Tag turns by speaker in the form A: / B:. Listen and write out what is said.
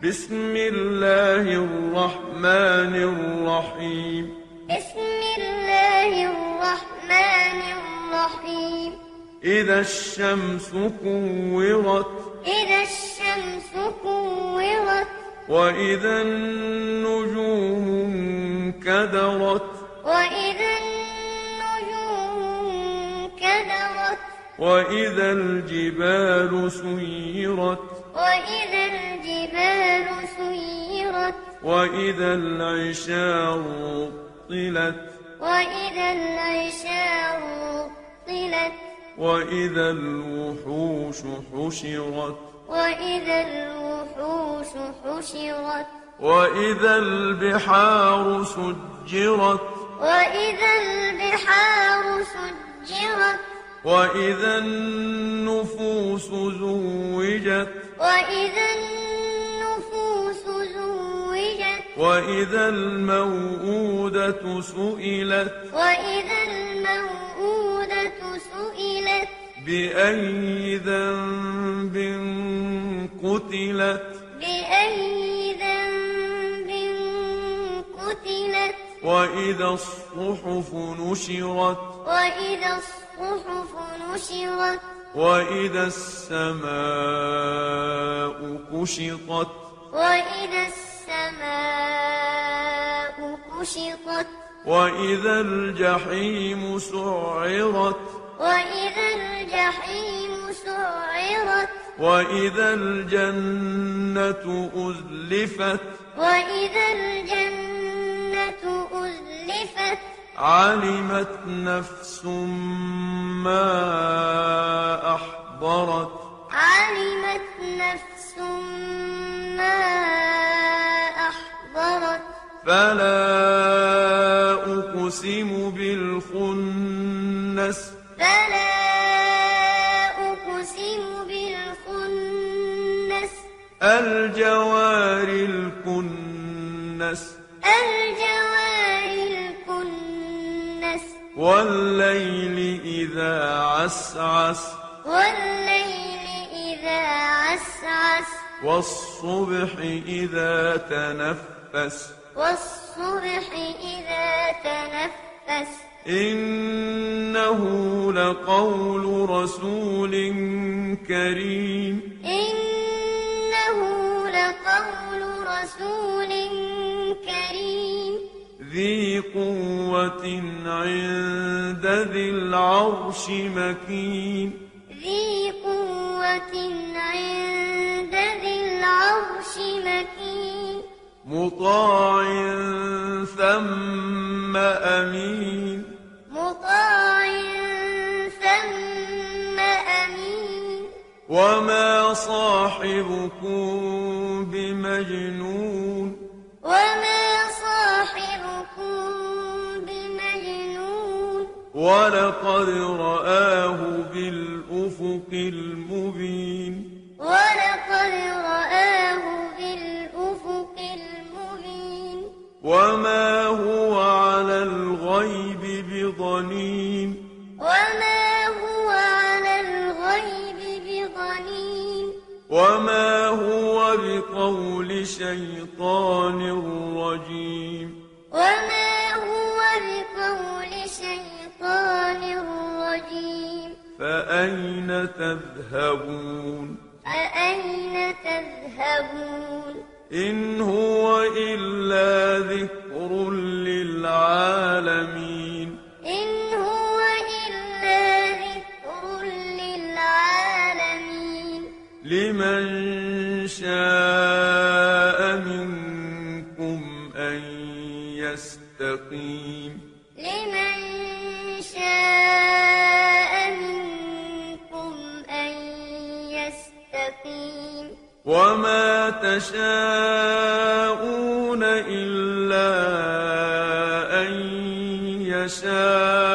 A: بسم الله الرحمن الرحيم
B: بسم الله الرحمن الرحيم
A: إذا الشمس كورت
B: إذا الشمس كورت
A: وإذا النجوم انكدرت
B: وإذا النجوم انكدرت
A: وإذا الجبال سيرت
B: وإذا الجبال سيرت
A: وإذا العشار طلت
B: وإذا العشار طلت
A: وإذا الوحوش حشرت
B: وإذا الوحوش حشرت
A: وإذا البحار سجرت
B: وإذا البحار سجرت
A: وإذا النفوس زوجت
B: وإذا النفوس زوجت
A: وإذا الموءودة سئلت
B: وإذا الموءودة سئلت
A: بأي ذنب قتلت
B: بأي ذنب قتلت
A: وإذا الصحف نشرت
B: وإذا الصحف نشرت
A: وإذا السماء كشطت
B: وإذا السماء كشطت
A: وإذا الجحيم سعرت
B: وإذا الجحيم سعرت
A: وإذا الجنة أزلفت
B: وإذا الجنة أزلفت
A: علمت نفس ما أحضرت
B: علمت نفس ما أحضرت
A: فلا أقسم بالخنس
B: فلا أقسم بالخنس
A: الجوار الكنس
B: الجوار الكنس
A: والليل إذا عسعس
B: والليل إذا عسعس
A: والصبح إذا تنفس
B: والصبح إذا تنفس
A: إنه لقول رسول كريم
B: إنه لقول رسول كريم
A: ذي قوة عند ذي العرش مكين
B: ذي قوة عند ذي العرش مكين
A: مطاع ثم أمين
B: مطاع ثم أمين
A: وما صاحبكم بمجنون
B: وما صاحبكم بمجنون
A: ولقد رآه بالأفق المبين
B: ولقد رآه بالأفق المبين
A: وما هو على الغيب بضنين
B: وما هو على الغيب بضنين
A: وما هو بقول شيطان رجيم
B: وما هو بقول شيطان رجيم
A: فأين تذهبون
B: فأين تذهبون
A: إن هو إلا ذكر للعالمين
B: إن هو إلا ذكر للعالمين
A: لمن شاء منكم أن يستقيم
B: لمن شاء منكم أن يستقيم
A: وما تشاءون إلا أن يشاء